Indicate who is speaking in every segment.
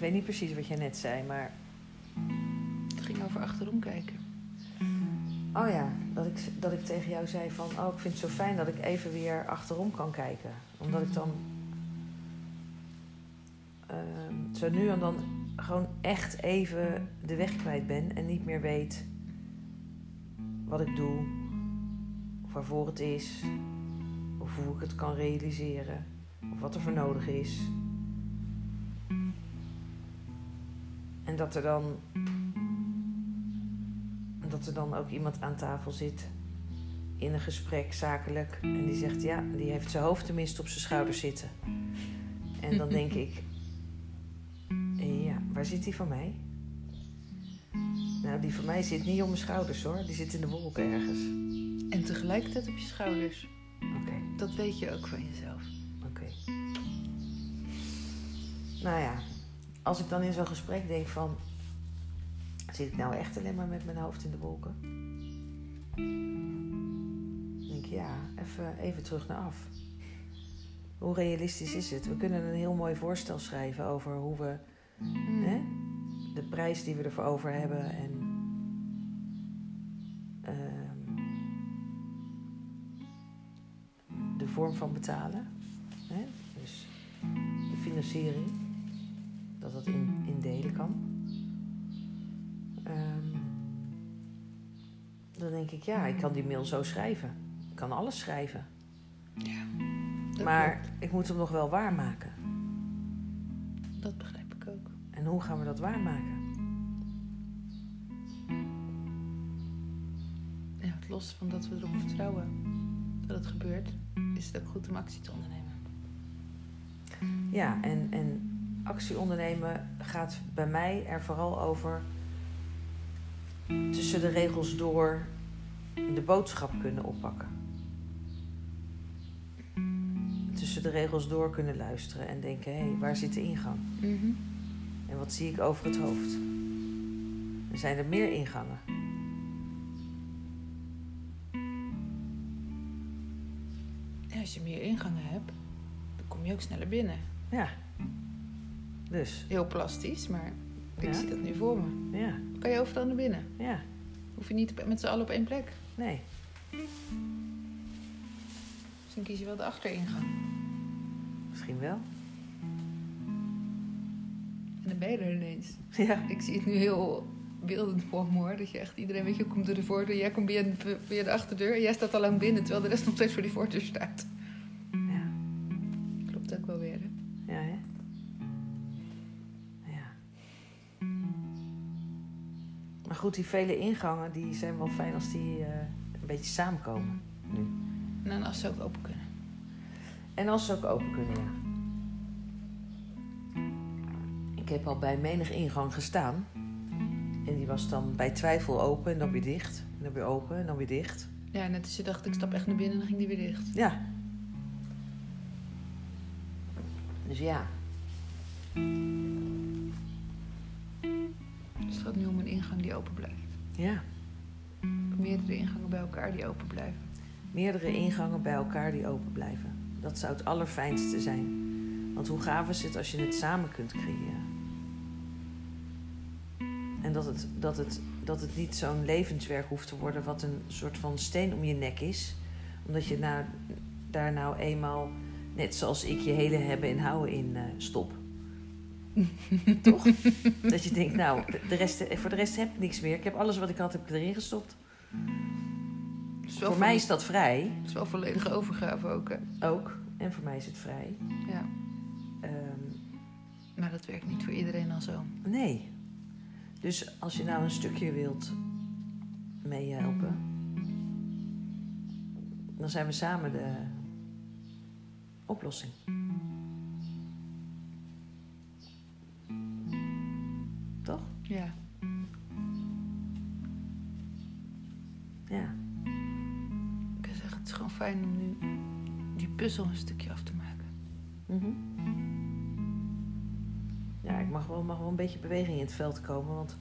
Speaker 1: weet niet precies wat jij net zei, maar...
Speaker 2: Het ging over achterom kijken.
Speaker 1: Oh ja, dat ik, dat ik tegen jou zei van... Oh, ik vind het zo fijn dat ik even weer achterom kan kijken. Omdat ik dan... ehm, zo nu en dan gewoon echt even de weg kwijt ben... en niet meer weet wat ik doe... of waarvoor het is... of hoe ik het kan realiseren... of wat er voor nodig is... En dat er dan. Dat er dan ook iemand aan tafel zit. In een gesprek, zakelijk. En die zegt ja, die heeft zijn hoofd tenminste op zijn schouders zitten. En dan denk ik. Ja, waar zit die van mij? Nou, die van mij zit niet op mijn schouders hoor. Die zit in de wolken ergens.
Speaker 2: En tegelijkertijd op je schouders.
Speaker 1: Oké,
Speaker 2: Dat weet je ook van jezelf.
Speaker 1: oké. Nou ja, als ik dan in zo'n gesprek denk van. Zit ik nou echt alleen maar met mijn hoofd in de wolken? Dan denk ik, ja, even, even terug naar af. Hoe realistisch is het? We kunnen een heel mooi voorstel schrijven over hoe we hè, de prijs die we ervoor over hebben en ehm, de vorm van betalen. Hè? Dus de financiering, dat dat in, in delen kan. Ehm, dan denk ik, ja, ik kan die mail zo schrijven. Ik kan alles schrijven.
Speaker 2: Ja. Dat
Speaker 1: Maar ik moet hem nog wel waarmaken.
Speaker 2: klopt. Dat begrijp ik ook.
Speaker 1: En hoe gaan we dat waarmaken?
Speaker 2: Ja, los van dat we erop vertrouwen dat het gebeurt, is het ook goed om actie te ondernemen.
Speaker 1: Ja, en, en actie ondernemen gaat bij mij er vooral over tussen de regels door de boodschap kunnen oppakken. Tussen de regels door kunnen luisteren en denken, hé, waar zit de ingang? En wat zie ik over het hoofd? Er zijn er meer ingangen.
Speaker 2: Ja, als je meer ingangen hebt, dan kom je ook sneller binnen.
Speaker 1: Ja. Dus,
Speaker 2: Heel plastisch, maar ik
Speaker 1: Ja.
Speaker 2: zie dat nu voor me.
Speaker 1: ja,
Speaker 2: Dan kan je overal naar binnen.
Speaker 1: ja,
Speaker 2: Hoef je niet op- met z'n allen op één plek.
Speaker 1: nee.
Speaker 2: Dus dan kies je wel de achteringang.
Speaker 1: Misschien wel.
Speaker 2: En dan ben je er ineens.
Speaker 1: Ja.
Speaker 2: Ik zie het nu heel beeldend voor me hoor. Dat je echt iedereen weet je komt door de voordeur. Jij komt via, via de achterdeur en jij staat al lang binnen. Terwijl de rest nog steeds voor die voordeur staat.
Speaker 1: Ja.
Speaker 2: Klopt ook wel weer hè?
Speaker 1: Ja, hè? Ja. Maar goed, die vele ingangen die zijn wel fijn als die eh, een beetje samenkomen.
Speaker 2: En dan als ze ook open kunnen.
Speaker 1: En als ze ook open kunnen, ja. Ik heb al bij menig ingang gestaan. En die was dan bij twijfel open en dan weer dicht. En dan weer open en dan weer dicht.
Speaker 2: Ja, net als je dacht ik stap echt naar binnen en dan ging die weer dicht.
Speaker 1: Ja. Dus ja.
Speaker 2: Dus het gaat nu om een ingang die open blijft.
Speaker 1: Ja.
Speaker 2: Meerdere ingangen bij elkaar die open blijven.
Speaker 1: Meerdere ingangen bij elkaar die open blijven. Dat zou het allerfijnste zijn. Want hoe gaaf is het als je het samen kunt creëren? En dat het, dat het, dat het niet zo'n levenswerk hoeft te worden, wat een soort van steen om je nek is. Omdat je nou, daar nou eenmaal, net zoals ik, je hele hebben en houden in eh, stop. Toch? Dat je denkt, nou, de rest, voor de rest heb ik niks meer. Ik heb alles wat ik had, heb ik erin gestopt.
Speaker 2: Het is wel
Speaker 1: Voor mij is dat vrij.
Speaker 2: het is wel volledige overgave ook hè.
Speaker 1: Ook. En voor mij is het vrij.
Speaker 2: Ja.
Speaker 1: Ehm,
Speaker 2: Maar dat werkt niet voor iedereen al zo.
Speaker 1: nee. Dus als je nou een stukje wilt meehelpen, dan zijn we samen de oplossing. Toch?
Speaker 2: Ja.
Speaker 1: Ja.
Speaker 2: Ik kan zeggen, het is gewoon fijn om nu die puzzel een stukje af te maken.
Speaker 1: Mhm. Ja, ik mag wel, mag wel een beetje beweging in het veld komen, want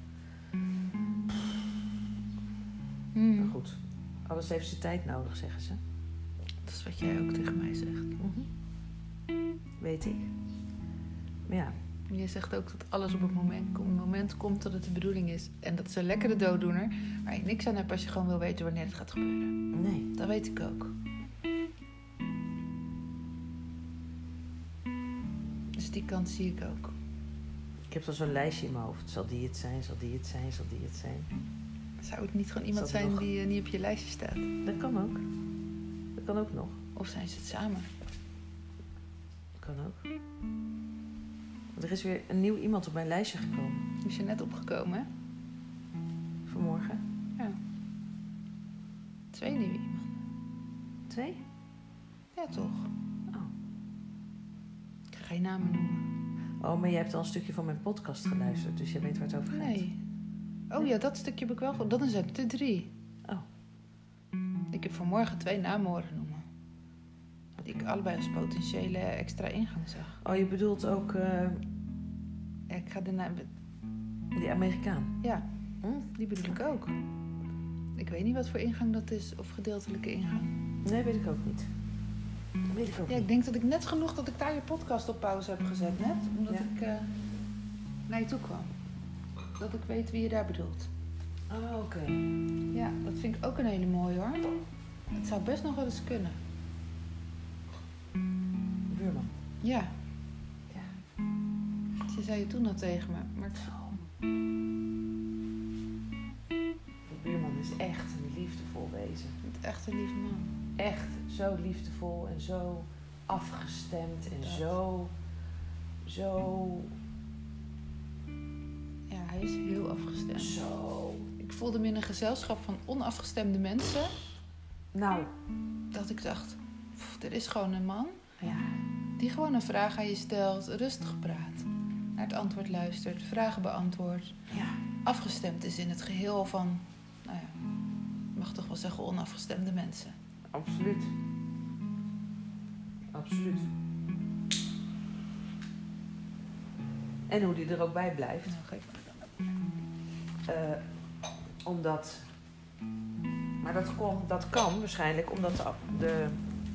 Speaker 2: Mm. Mhm.
Speaker 1: maar goed, alles heeft zijn tijd nodig, zeggen ze.
Speaker 2: Dat is wat jij ook tegen mij zegt.
Speaker 1: Weet ik. Maar ja,
Speaker 2: En je zegt ook dat alles op het moment, op het moment komt dat het de bedoeling is. En dat is een lekkere dooddoener. Waar je niks aan hebt als je gewoon wil weten wanneer het gaat gebeuren.
Speaker 1: Nee.
Speaker 2: Dat weet ik ook. Dus die kant zie ik ook.
Speaker 1: Ik heb dan zo'n lijstje in mijn hoofd. Zal die het zijn? Zal die het zijn? Zal die het zijn?
Speaker 2: Zou het niet gewoon iemand
Speaker 1: Zal die
Speaker 2: zijn
Speaker 1: nog-
Speaker 2: die eh, niet op je lijstje staat?
Speaker 1: Dat kan ook. Dat kan ook nog.
Speaker 2: Of zijn ze het samen?
Speaker 1: Dat kan ook. Want er is weer een nieuw iemand op mijn lijstje gekomen
Speaker 2: Is je net opgekomen, hè?
Speaker 1: vanmorgen.
Speaker 2: Twee nieuwe iemand.
Speaker 1: Twee?
Speaker 2: Ja, toch?
Speaker 1: Oh.
Speaker 2: Ik ga geen namen noemen.
Speaker 1: Oh, maar jij hebt al een stukje van mijn podcast geluisterd, dus je weet waar het over gaat.
Speaker 2: Nee. Oh ja, dat stukje heb ik wel gehoord. Dan zijn het er drie.
Speaker 1: Oh.
Speaker 2: Ik heb vanmorgen twee namen horen noemen. Die ik allebei als potentiële extra ingang zag.
Speaker 1: Oh, je bedoelt ook eh,
Speaker 2: Ja, ik ga de naam...
Speaker 1: die Amerikaan.
Speaker 2: Ja,
Speaker 1: Hm?
Speaker 2: die bedoel ik ook. Ik weet niet wat voor ingang dat is, of gedeeltelijke ingang.
Speaker 1: Nee, weet ik ook niet. Weet ik ook
Speaker 2: Ja,
Speaker 1: niet.
Speaker 2: ik denk dat ik net genoeg dat ik daar je podcast op pauze heb gezet net. Omdat
Speaker 1: Ja.
Speaker 2: ik eh, naar je toe kwam. Dat ik weet wie je daar bedoelt.
Speaker 1: Oh, oké.
Speaker 2: Ja, dat vind ik ook een hele mooie hoor. Het zou best nog wel eens kunnen.
Speaker 1: Buurman.
Speaker 2: Ja.
Speaker 1: Ja.
Speaker 2: Ze zei je toen al tegen me. Maar
Speaker 1: De buurman is echt een liefdevol wezen.
Speaker 2: ik vind het echt een lieve man.
Speaker 1: Echt zo liefdevol en zo afgestemd en
Speaker 2: Dat.
Speaker 1: zo... Zo...
Speaker 2: Ja, hij is heel afgestemd.
Speaker 1: Zo...
Speaker 2: Ik voelde me in een gezelschap van onafgestemde mensen.
Speaker 1: Nou,
Speaker 2: Dat ik dacht, "Pff, er is gewoon een man
Speaker 1: ja.
Speaker 2: die gewoon een vraag aan je stelt. Rustig praat. Naar het antwoord luistert. Vragen beantwoordt.
Speaker 1: Ja.
Speaker 2: Afgestemd is in het geheel van, nou ja, ik mag toch wel zeggen onafgestemde mensen.
Speaker 1: Absoluut. Absoluut. En hoe die er ook bij blijft.
Speaker 2: Nou, geef me dan.
Speaker 1: Eh, omdat. Maar dat, kon, dat kan waarschijnlijk omdat de, de-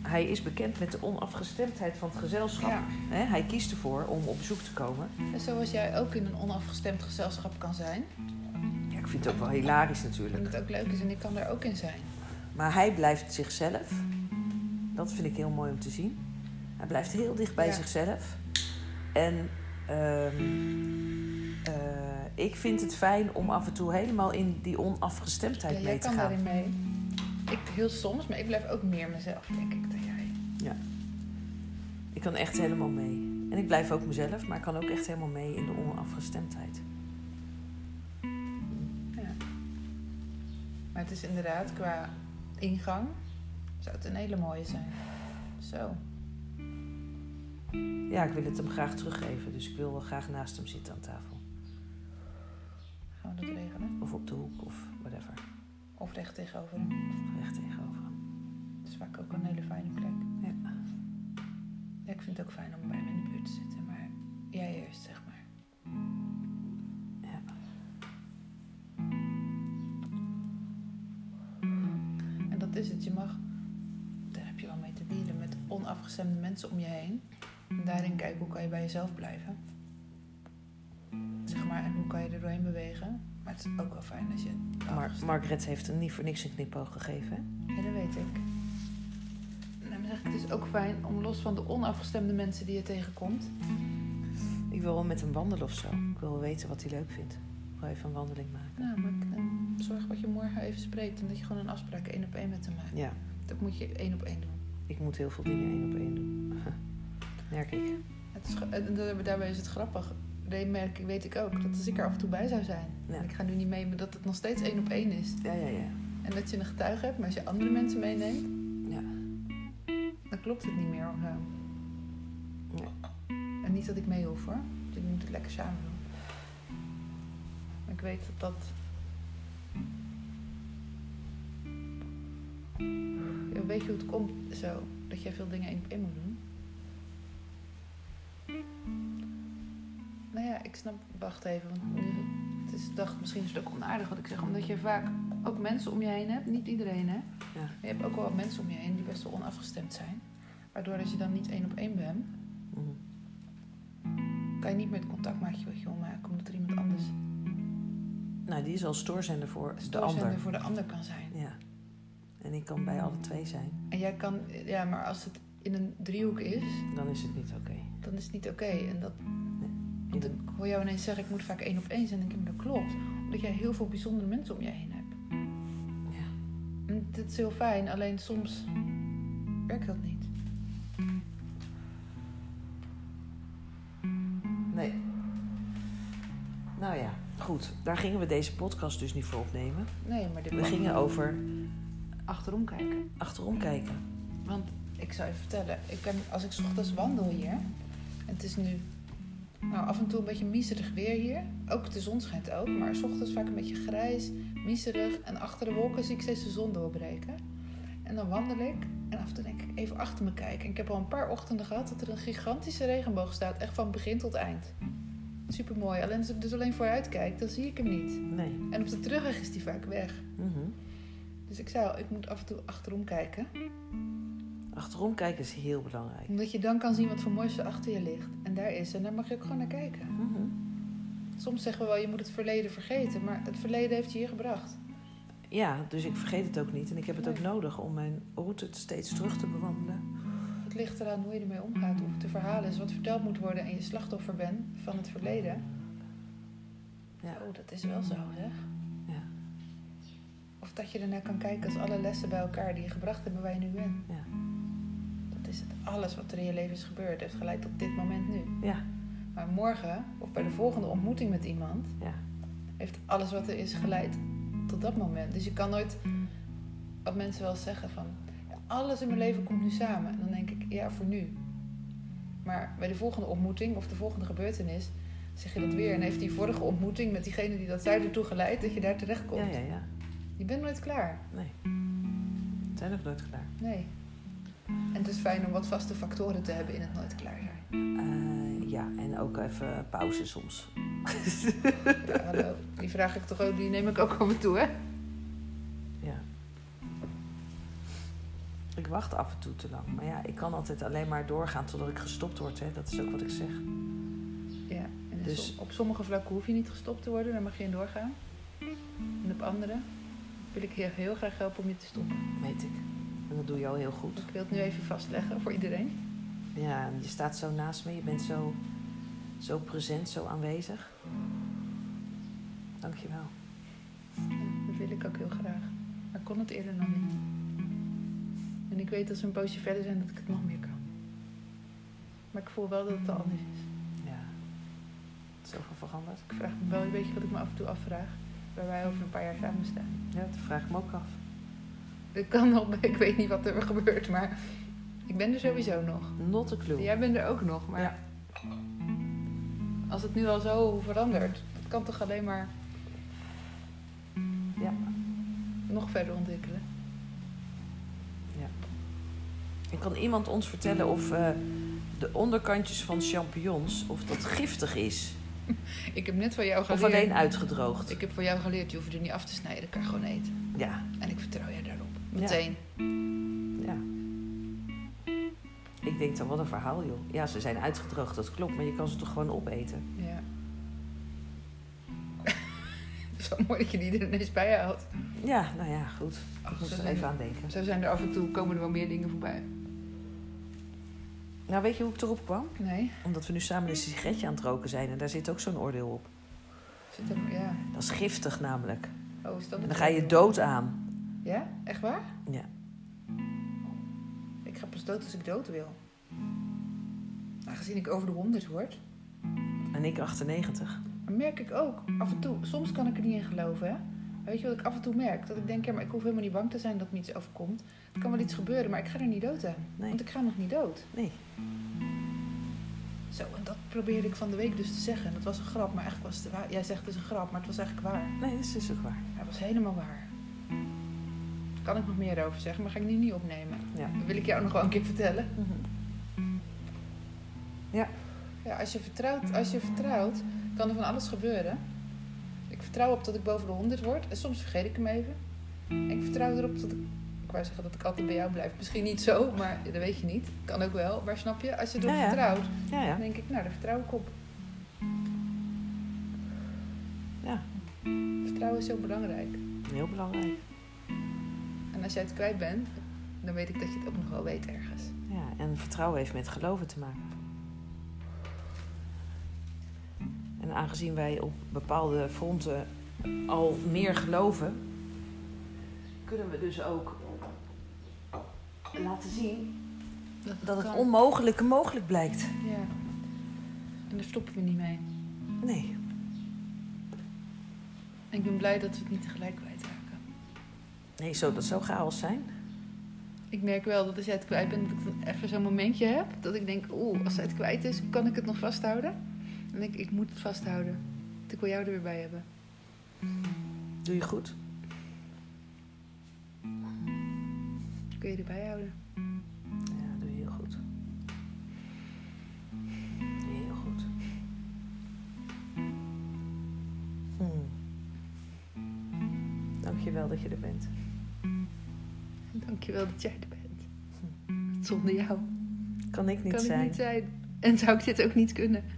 Speaker 1: hij is bekend met de onafgestemdheid van het gezelschap.
Speaker 2: Ja.
Speaker 1: Hè, hij kiest ervoor om op bezoek te komen.
Speaker 2: En zoals jij ook in een onafgestemd gezelschap kan zijn.
Speaker 1: Ja, ik vind het ook wel hilarisch
Speaker 2: En
Speaker 1: natuurlijk.
Speaker 2: het ook leuk is en ik kan daar ook in zijn.
Speaker 1: Maar hij blijft zichzelf. Dat vind ik heel mooi om te zien. Hij blijft heel dicht bij
Speaker 2: Ja.
Speaker 1: zichzelf. En ehm, eh, ik vind het fijn om af en toe helemaal in die onafgestemdheid
Speaker 2: Ja,
Speaker 1: mee
Speaker 2: jij
Speaker 1: te
Speaker 2: kan
Speaker 1: gaan.
Speaker 2: daarin mee. Ik heel soms, maar ik blijf ook meer mezelf, denk ik, dan jij.
Speaker 1: Ik kan echt helemaal mee. En ik blijf ook mezelf, maar ik kan ook echt helemaal mee in de onafgestemdheid.
Speaker 2: Ja. Maar het is inderdaad, qua ingang, zou het een hele mooie zijn. Zo.
Speaker 1: Ja, ik wil het hem graag teruggeven, dus ik wil wel graag naast hem zitten aan tafel.
Speaker 2: Gaan we dat regelen?
Speaker 1: Of op de hoek, of whatever.
Speaker 2: Of recht tegenover hem.
Speaker 1: Of recht tegenover hem.
Speaker 2: Dat is vaak ook een hele fijne plek.
Speaker 1: Ja.
Speaker 2: Ja, ik vind het ook fijn om bij me in de buurt te zitten, maar jij eerst, zeg maar.
Speaker 1: Ja.
Speaker 2: Hm. En dat is het. Je mag, daar heb je wel mee te dealen, met onafgestemde mensen om je heen. En daarin kijken hoe kan je bij jezelf blijven. Zeg maar, en hoe kan je er doorheen bewegen. Maar het is ook wel fijn als je...
Speaker 1: Maar
Speaker 2: afgestemd-
Speaker 1: Margaret heeft hem niet voor niks een knipoog gegeven. hè?
Speaker 2: Ja, dat weet ik. Nou, maar zeg ik, het is ook fijn om los van de onafgestemde mensen die je tegenkomt.
Speaker 1: Ik wil wel met hem wandelen of zo. Ik wil wel weten wat hij leuk vindt. Ik wil even een wandeling maken.
Speaker 2: Nou, maar eh, zorg wat je morgen even spreekt. En dat je gewoon een afspraak één op één met hem maakt.
Speaker 1: Ja,
Speaker 2: Dat moet je één op één doen.
Speaker 1: ik moet heel veel dingen één op één doen. Merk ik.
Speaker 2: Het is, ge- eh, en da- daarbij is het grappig. Nee, merk ik, weet ik ook, dat als ik er af en toe bij zou zijn.
Speaker 1: Ja.
Speaker 2: en Ik ga nu niet mee, maar dat het nog steeds één op één is.
Speaker 1: Ja, ja, ja.
Speaker 2: En dat je een getuige hebt, maar als je andere mensen meeneemt,
Speaker 1: Ja,
Speaker 2: dan klopt het niet meer of zo.
Speaker 1: Nee.
Speaker 2: En niet dat ik mee hoef hoor. Dus ik moet het lekker samen doen. Maar ik weet dat dat. Ja, weet je hoe het komt zo? Dat jij veel dingen één op één moet doen? Nou ja, ik snap. Wacht even. Want nu, het is, dacht, misschien is het ook onaardig wat ik zeg. Omdat je vaak ook mensen om je heen hebt. Niet iedereen, hè? Maar je hebt ook wel wat mensen om je heen die best wel onafgestemd zijn. Waardoor dat je dan niet één op één bent.
Speaker 1: Mhm.
Speaker 2: kan je niet meer het contactmaatje wat je wil maken, omdat er iemand anders
Speaker 1: Nou, die is al stoorzender voor de
Speaker 2: stoorzender
Speaker 1: ander.
Speaker 2: voor de ander kan zijn.
Speaker 1: Ja. En ik kan bij alle twee zijn.
Speaker 2: En jij kan, ja, maar als het in een driehoek is,
Speaker 1: Dan is het niet oké.
Speaker 2: dan is het niet oké. En dat, want ik hoor jou ineens zeggen, ik moet vaak één op één zijn. En ik denk, dat klopt. Omdat jij heel veel bijzondere mensen om je heen hebt.
Speaker 1: Ja.
Speaker 2: En dat is heel fijn, alleen soms werkt dat niet.
Speaker 1: Nee. Nou ja, goed. Daar gingen we deze podcast dus niet voor opnemen.
Speaker 2: Nee, maar dit
Speaker 1: We gingen over
Speaker 2: achterom kijken.
Speaker 1: achterom kijken.
Speaker 2: Want ik zou je vertellen, ik ben, als ik 's ochtends wandel hier, en het is nu nou, af en toe een beetje miserig weer hier. Ook de zon schijnt ook, maar 's ochtends vaak een beetje grijs, miserig. En achter de wolken zie ik steeds de zon doorbreken. En dan wandel ik en af en toe denk ik even achter me kijken. En ik heb al een paar ochtenden gehad dat er een gigantische regenboog staat, echt van begin tot eind. Super mooi. Alleen als ik dus alleen vooruit kijk, dan zie ik hem niet.
Speaker 1: Nee.
Speaker 2: En op de terugweg is die vaak weg.
Speaker 1: Mhm.
Speaker 2: Dus ik zou, ik moet af en toe achterom kijken.
Speaker 1: Achterom kijken is heel belangrijk.
Speaker 2: Omdat je dan kan zien wat voor moois er achter je ligt. En daar is. En daar mag je ook gewoon naar kijken.
Speaker 1: Mhm.
Speaker 2: Soms zeggen we wel, je moet het verleden vergeten. Maar het verleden heeft je hier gebracht.
Speaker 1: Ja, dus ik vergeet het ook niet. En ik heb het ook
Speaker 2: Nee.
Speaker 1: nodig om mijn route steeds terug te bewandelen.
Speaker 2: Het ligt eraan hoe je ermee omgaat. Of het een verhaal is wat verteld moet worden en je slachtoffer bent van het verleden.
Speaker 1: Ja.
Speaker 2: Oh, dat is wel zo, zeg.
Speaker 1: Ja.
Speaker 2: Of dat je ernaar kan kijken als alle lessen bij elkaar die je gebracht hebben waar je nu bent.
Speaker 1: Ja.
Speaker 2: Dat is het. Alles wat er in je leven is gebeurd heeft geleid tot dit moment nu.
Speaker 1: Ja.
Speaker 2: Maar morgen, of bij de volgende ontmoeting met iemand,
Speaker 1: Ja.
Speaker 2: heeft alles wat er is geleid tot dat moment. Dus je kan nooit, wat mensen wel eens zeggen van, "Ja, alles in mijn leven komt nu samen. En dan denk ik, ja, voor nu. Maar bij de volgende ontmoeting of de volgende gebeurtenis zeg je dat weer. En heeft die vorige ontmoeting met diegene die dat zei ertoe geleid, dat je daar terecht komt.
Speaker 1: Ja, ja, ja.
Speaker 2: Je bent nooit klaar.
Speaker 1: We zijn nog nooit klaar.
Speaker 2: Nee. En het is fijn om wat vaste factoren te hebben in het nooit klaar zijn.
Speaker 1: Eh, ja, en ook even pauze soms.
Speaker 2: Ja, hallo. Die vraag ik toch ook, die neem ik ook af en toe, hè?
Speaker 1: Ja. Ik wacht af en toe te lang. Maar ja, ik kan altijd alleen maar doorgaan totdat ik gestopt word. Hè. Dat is ook wat ik zeg.
Speaker 2: Ja, en
Speaker 1: Dus-
Speaker 2: dus... op sommige vlakken hoef je niet gestopt te worden, daar mag je in doorgaan. En op andere wil ik je heel graag helpen om je te stoppen. Dus
Speaker 1: Weet ik. En dat doe je al heel goed.
Speaker 2: Ik wil het nu even vastleggen voor iedereen.
Speaker 1: Ja, en je staat zo naast me. Je bent zo, zo present, zo aanwezig. Dankjewel.
Speaker 2: Ja, dat wil ik ook heel graag. Maar ik kon het eerder nog niet. En ik weet als we een poosje verder zijn dat ik het nog meer kan. Maar ik voel wel dat het al anders is.
Speaker 1: Ja. Zoveel veranderd.
Speaker 2: Ik vraag me wel een beetje wat ik me af en toe afvraag. Waar wij over een paar jaar samen staan.
Speaker 1: Ja, dat vraag ik me ook af.
Speaker 2: Ik kan nog, ik weet niet wat er gebeurt, maar ik ben er sowieso nog.
Speaker 1: Not a clue.
Speaker 2: Jij bent er ook nog, maar
Speaker 1: Ja.
Speaker 2: als het nu al zo verandert, dat kan toch alleen maar
Speaker 1: Ja.
Speaker 2: nog verder ontwikkelen.
Speaker 1: En kan iemand ons vertellen of eh, de onderkantjes van champignons of dat giftig is?
Speaker 2: Ik heb net van jou
Speaker 1: Of
Speaker 2: geleerd.
Speaker 1: alleen uitgedroogd?
Speaker 2: Ik heb van jou geleerd, je hoeft er niet af te snijden, kan je gewoon eten.
Speaker 1: Ja.
Speaker 2: En ik vertrouw jij daarop. Meteen.
Speaker 1: ja. Ik denk dan, wat een verhaal joh. Ja, ze zijn uitgedroogd, dat klopt. Maar je kan ze toch gewoon opeten?
Speaker 2: Ja. zo mooi dat je die er ineens bij haalt.
Speaker 1: Ja, nou ja, goed. Ik
Speaker 2: Ach,
Speaker 1: moest
Speaker 2: zo
Speaker 1: er
Speaker 2: zijn-
Speaker 1: even aan denken.
Speaker 2: Zo zijn er af en toe, komen er wel meer dingen voorbij.
Speaker 1: Nou, weet je hoe ik erop kwam?
Speaker 2: Nee.
Speaker 1: Omdat we nu samen een sigaretje aan het roken zijn. En daar zit ook zo'n oordeel op.
Speaker 2: Zit er, ja.
Speaker 1: Dat is giftig namelijk.
Speaker 2: Oh, is dat
Speaker 1: En dan
Speaker 2: het?
Speaker 1: ga je dood aan.
Speaker 2: Ja? Echt waar?
Speaker 1: Ja.
Speaker 2: Ik ga pas dood als ik dood wil. Aangezien ik over de 100 word,
Speaker 1: En ik 98.
Speaker 2: dan merk ik ook af en toe, soms kan ik er niet in geloven. Hè? Maar Weet je wat ik af en toe merk? Dat ik denk, ja, maar ik hoef helemaal niet bang te zijn dat me iets overkomt. Er kan wel iets gebeuren, maar ik ga er niet dood aan.
Speaker 1: Nee.
Speaker 2: Want ik ga nog niet dood.
Speaker 1: Nee.
Speaker 2: Zo, en dat probeerde ik van de week dus te zeggen. Dat was een grap, maar eigenlijk was het waar. Jij zegt het is een grap, maar het was eigenlijk waar.
Speaker 1: Nee, dat is dus ook waar.
Speaker 2: Hij was helemaal waar. Daar kan ik nog meer over zeggen, maar ga ik nu niet opnemen.
Speaker 1: Ja.
Speaker 2: Dat wil ik jou nog wel een keer vertellen.
Speaker 1: Mhm. Ja.
Speaker 2: Ja, als je vertrouwt, als je vertrouwt kan er van alles gebeuren. Ik vertrouw op dat ik boven de 100 word. En soms vergeet ik hem even. En ik vertrouw erop dat ik... Ik wou zeggen dat ik altijd bij jou blijf. Misschien niet zo, maar dat weet je niet. Kan ook wel. Maar snap je? Als je erop
Speaker 1: Ja, ja.
Speaker 2: vertrouwt,
Speaker 1: Ja, ja.
Speaker 2: dan denk ik, nou, daar nou, vertrouw ik op. is heel belangrijk.
Speaker 1: Heel belangrijk.
Speaker 2: En als jij het kwijt bent, dan weet ik dat je het ook nog wel weet ergens.
Speaker 1: Ja, en vertrouwen heeft met geloven te maken. En aangezien wij op bepaalde fronten al meer geloven, kunnen we dus ook laten zien dat het
Speaker 2: kan.
Speaker 1: onmogelijke mogelijk blijkt.
Speaker 2: Ja. En daar stoppen we niet mee.
Speaker 1: Nee,
Speaker 2: En ik ben blij dat we het niet tegelijk kwijtraken.
Speaker 1: nee zo, dat zou chaos zijn.
Speaker 2: Ik merk wel dat als jij het kwijt bent, dat ik dan even zo'n momentje heb. Dat ik denk, oeh, als zij het kwijt is, kan ik het nog vasthouden? En dan denk ik, ik moet het vasthouden. Want ik wil jou er weer bij hebben.
Speaker 1: Doe je goed.
Speaker 2: Kun je erbij houden?
Speaker 1: Ja, doe je heel goed. Doe je heel goed. Hmm. Dankjewel dat je er bent.
Speaker 2: Dankjewel dat jij er bent. Want Zonder jou
Speaker 1: Kan ik Hm. niet
Speaker 2: kan
Speaker 1: zijn.
Speaker 2: ik niet zijn. En zou ik dit ook niet kunnen.